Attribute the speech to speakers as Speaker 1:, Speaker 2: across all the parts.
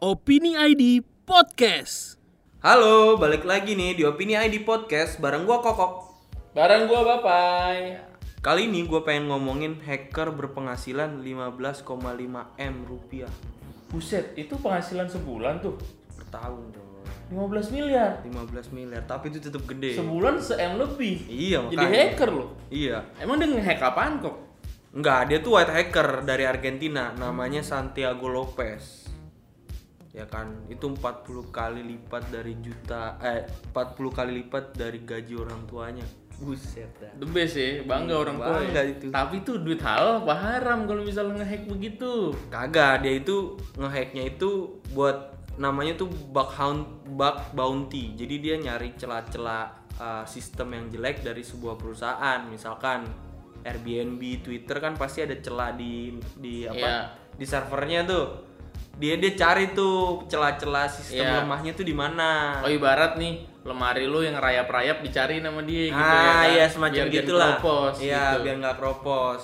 Speaker 1: Opini ID Podcast.
Speaker 2: Halo, balik lagi nih di Opini ID Podcast bareng gua Kokok.
Speaker 3: Barang gua bapai.
Speaker 2: Kali ini gua pengen ngomongin hacker berpenghasilan 15,5 M rupiah
Speaker 3: Buset, itu penghasilan sebulan tuh
Speaker 2: per tahun dong.
Speaker 3: 15 miliar.
Speaker 2: 15 miliar, tapi itu tetap gede.
Speaker 3: Sebulan se M lebih.
Speaker 2: Iya,
Speaker 3: Jadi
Speaker 2: makanya.
Speaker 3: hacker loh.
Speaker 2: Iya.
Speaker 3: Emang dia nge-hack apaan kok?
Speaker 2: Enggak, dia tuh white hacker dari Argentina, namanya Santiago Lopez. Ya kan, itu 40 kali lipat dari juta eh 40 kali lipat dari gaji orang tuanya. Buset dah.
Speaker 3: The best ya, bangga orang tua. ya.
Speaker 2: Bangga itu.
Speaker 3: Tapi tuh duit halal apa haram kalau misalnya nge-hack begitu?
Speaker 2: Kagak, dia itu ngehacknya itu buat namanya tuh bug hunt, bug bounty. Jadi dia nyari celah-celah uh, sistem yang jelek dari sebuah perusahaan, misalkan Airbnb, Twitter kan pasti ada celah di di apa?
Speaker 3: Iya.
Speaker 2: Di servernya tuh. Dia dia cari tuh celah-celah sistem
Speaker 3: Iya.
Speaker 2: lemahnya tuh di mana.
Speaker 3: Oh ibarat nih, lemari lu yang rayap-rayap dicari nama dia gitu ya
Speaker 2: ah,
Speaker 3: kan?
Speaker 2: iya semacam
Speaker 3: Biar dia
Speaker 2: gitulah.
Speaker 3: keropos
Speaker 2: Iya,
Speaker 3: gitu.
Speaker 2: biar nggak keropos.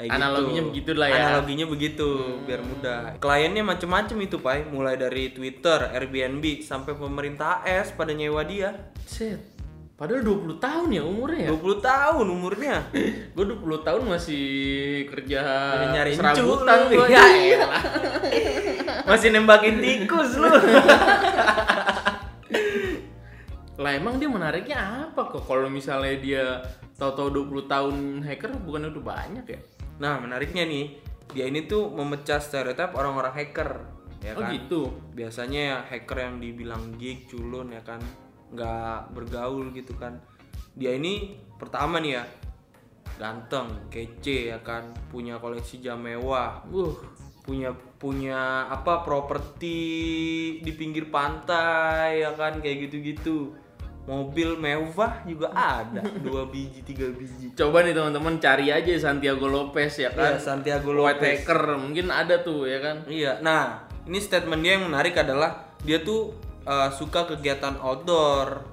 Speaker 2: Kayak gitu.
Speaker 3: Analoginya begitu lah ya. Hmm.
Speaker 2: Analoginya begitu, biar mudah. Kliennya macem-macem itu, Pai. Mulai dari Twitter, Airbnb, sampai pemerintah AS pada nyewa dia.
Speaker 3: Buset. Padahal 20 tahun ya umurnya ya?
Speaker 2: 20 tahun umurnya.
Speaker 3: Gue 20 tahun masih kerja
Speaker 2: nyari
Speaker 3: serabutan
Speaker 2: cu lu.
Speaker 3: gua.
Speaker 2: Ya elah. Masih nembakin tikus lu.
Speaker 3: Lah emang dia menariknya apa kok kalau misalnya dia tahu-tahu 20 tahun hacker bukan udah banyak ya?
Speaker 2: Nah, menariknya nih, dia ini tuh memecah stereotip orang-orang hacker, ya
Speaker 3: oh
Speaker 2: kan?
Speaker 3: gitu.
Speaker 2: biasanya ya hacker yang dibilang geek culun ya kan nggak bergaul gitu kan dia ini pertama nih ya ganteng kece ya kan punya koleksi jam mewah
Speaker 3: Wuh,
Speaker 2: punya punya apa properti di pinggir pantai ya kan kayak gitu-gitu mobil mewah juga ada dua biji tiga biji
Speaker 3: coba nih teman-teman cari aja Santiago Lopez ya
Speaker 2: ya,
Speaker 3: kan.
Speaker 2: Santiago
Speaker 3: White
Speaker 2: Lopez
Speaker 3: hacker mungkin ada tuh ya kan.
Speaker 2: Iya. Nah, ini statement dia yang menarik adalah dia tuh uh, suka kegiatan outdoor.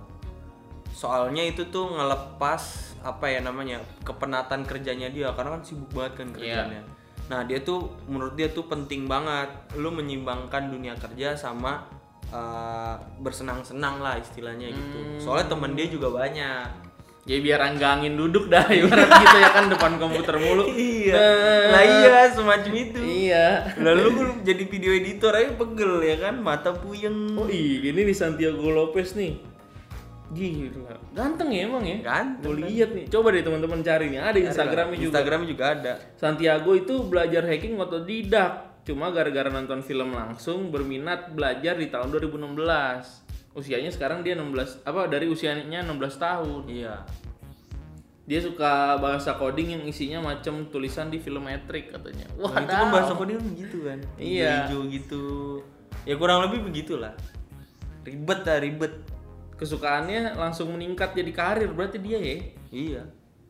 Speaker 2: Soalnya itu tuh ngelepas apa ya namanya kepenatan kerjanya dia karena kan sibuk banget kan kerjanya. Nah, dia tuh menurut dia tuh penting banget lu menyimbangkan dunia kerja sama uh, bersenang-senang lah istilahnya gitu. Soalnya temen dia juga banyak.
Speaker 3: Ya biar anggangin duduk dah ibarat gitu ya kan depan komputer mulu.
Speaker 2: Iya.
Speaker 3: Nah,
Speaker 2: Lah iya semacam itu.
Speaker 3: Iya.
Speaker 2: Lalu gue jadi video editor aja pegel ya kan, mata puyeng.
Speaker 3: Oh iya, ini nih Santiago Lopez nih. Gila, ganteng ya emang ya?
Speaker 2: Ganteng.
Speaker 3: Gue lihat nih. Coba deh teman-teman cari nih. Ada Instagramnya juga.
Speaker 2: Instagramnya juga ada.
Speaker 3: Santiago itu belajar hacking otodidak, cuma gara-gara nonton film langsung berminat belajar di tahun 2016. Usianya sekarang dia 16 apa dari usianya 16 tahun.
Speaker 2: Iya.
Speaker 3: Dia suka bahasa coding yang isinya macam tulisan di film Matrix katanya. Wah,
Speaker 2: itu kan bahasa kodenya gitu kan.
Speaker 3: Iya.
Speaker 2: Hijau gitu. Ya kurang lebih begitulah. Ribet lah ribet.
Speaker 3: kesukaannya langsung meningkat jadi karir berarti dia ya.
Speaker 2: Iya.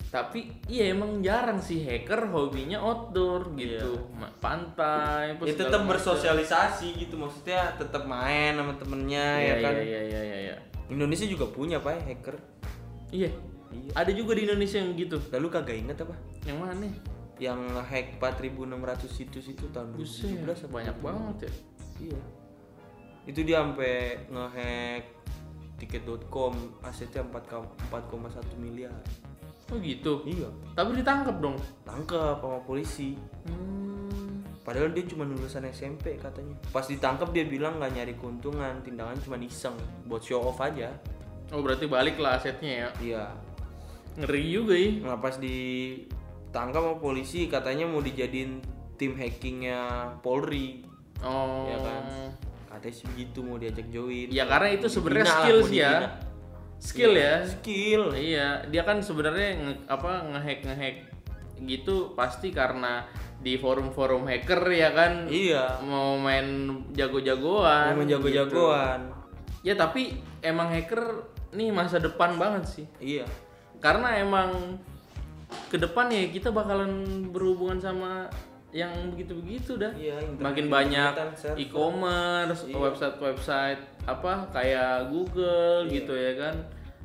Speaker 3: Tapi iya emang jarang sih hacker hobinya outdoor gitu. Ma- Pantai, apa
Speaker 2: Iya. Ya
Speaker 3: segala
Speaker 2: tetap
Speaker 3: macam.
Speaker 2: bersosialisasi gitu maksudnya tetap main sama temennya
Speaker 3: Iya,
Speaker 2: ya kan.
Speaker 3: iya, iya, iya, iya.
Speaker 2: Indonesia juga punya pak hacker.
Speaker 3: Iya. Ada juga di Indonesia yang gitu.
Speaker 2: Lalu kagak inget apa?
Speaker 3: Yang mana?
Speaker 2: Yang hack 4600 situs itu tahun 2017
Speaker 3: Buset, banyak banget ya.
Speaker 2: Iya. Itu dia sampai ngehack tiket.com asetnya 4,1 miliar.
Speaker 3: Oh gitu.
Speaker 2: Iya.
Speaker 3: Tapi ditangkap dong.
Speaker 2: tangkep sama polisi Hmm. padahal dia cuma lulusan SMP katanya pas ditangkap dia bilang nggak nyari keuntungan tindakan cuma iseng buat show off aja
Speaker 3: Oh berarti balik lah asetnya ya.
Speaker 2: iya
Speaker 3: Ngeri juga ya.
Speaker 2: nah pas ditangkap sama polisi katanya mau dijadiin tim hackingnya Polri
Speaker 3: Oh.
Speaker 2: Iya kan? katanya sih begitu mau diajak join
Speaker 3: Ya karena itu sebenarnya
Speaker 2: Dibina lah,
Speaker 3: skill
Speaker 2: mau
Speaker 3: sih ya.
Speaker 2: dibina.
Speaker 3: Skill ya.
Speaker 2: skill
Speaker 3: Iya, dia kan sebenarnya nge- apa ngehack ngehack gitu pasti karena di forum-forum hacker ya kan
Speaker 2: iya
Speaker 3: mau main jago-jagoan.
Speaker 2: memang
Speaker 3: gitu.
Speaker 2: jago-jagoan
Speaker 3: Ya tapi emang hacker nih masa depan banget sih.
Speaker 2: iya
Speaker 3: karena emang ke depan ya kita bakalan berhubungan sama yang begitu-begitu dah.
Speaker 2: Iya, internet-
Speaker 3: Makin banyak
Speaker 2: internetan, Iya. server.
Speaker 3: e-commerce, website-website apa kayak Google gitu ya kan,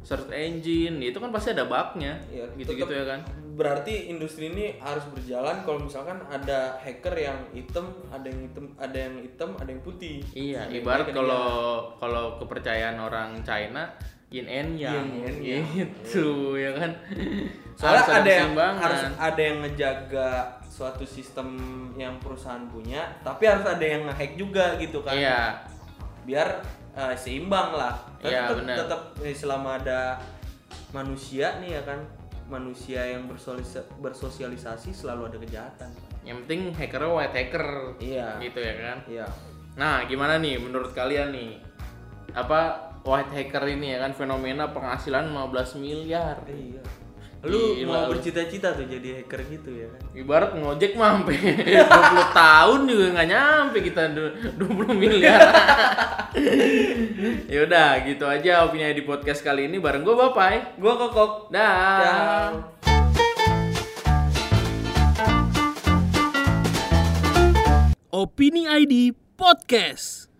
Speaker 3: search engine, itu kan pasti ada bugnya,
Speaker 2: Iya,
Speaker 3: gitu-gitu
Speaker 2: tetep
Speaker 3: ya kan.
Speaker 2: berarti industri ini harus berjalan kalau misalkan ada hacker yang hitam, ada yang hitam, ada yang hitam, ada yang putih.
Speaker 3: Iya,
Speaker 2: Ada yang
Speaker 3: ibarat
Speaker 2: black, ada
Speaker 3: kalau
Speaker 2: yang-
Speaker 3: kalau kepercayaan orang China yin and yang
Speaker 2: Yin and yang. Iya.
Speaker 3: gitu ya kan.
Speaker 2: soalnya
Speaker 3: Harus
Speaker 2: ada, yang
Speaker 3: keseimbangan.
Speaker 2: harus ada yang ngejaga suatu sistem yang perusahaan punya, tapi harus ada yang ngehack juga gitu kan.
Speaker 3: Iya,
Speaker 2: biar eh, seimbang lah
Speaker 3: Iya,
Speaker 2: tetap
Speaker 3: benar.
Speaker 2: tetap eh, selama ada manusia nih ya kan manusia yang bersolisa- bersosialisasi selalu ada kejahatan
Speaker 3: yang penting hackernya white hacker.
Speaker 2: Iya.
Speaker 3: Gitu ya kan.
Speaker 2: iya
Speaker 3: Nah, gimana nih menurut kalian nih? Apa white hacker ini ya kan fenomena penghasilan 15 miliar.
Speaker 2: iya lu
Speaker 3: Gila,
Speaker 2: mau
Speaker 3: lu.
Speaker 2: bercita-cita tuh jadi hacker gitu ya kan
Speaker 3: Ibarat ngojek mah sampai 20 tahun juga nggak nyampe kita du- 20 miliar. Yaudah, gitu aja opini di podcast kali ini bareng gue Bapai.
Speaker 2: gua kokok
Speaker 3: Dah.
Speaker 2: Ciao.
Speaker 1: Opini ID Podcast.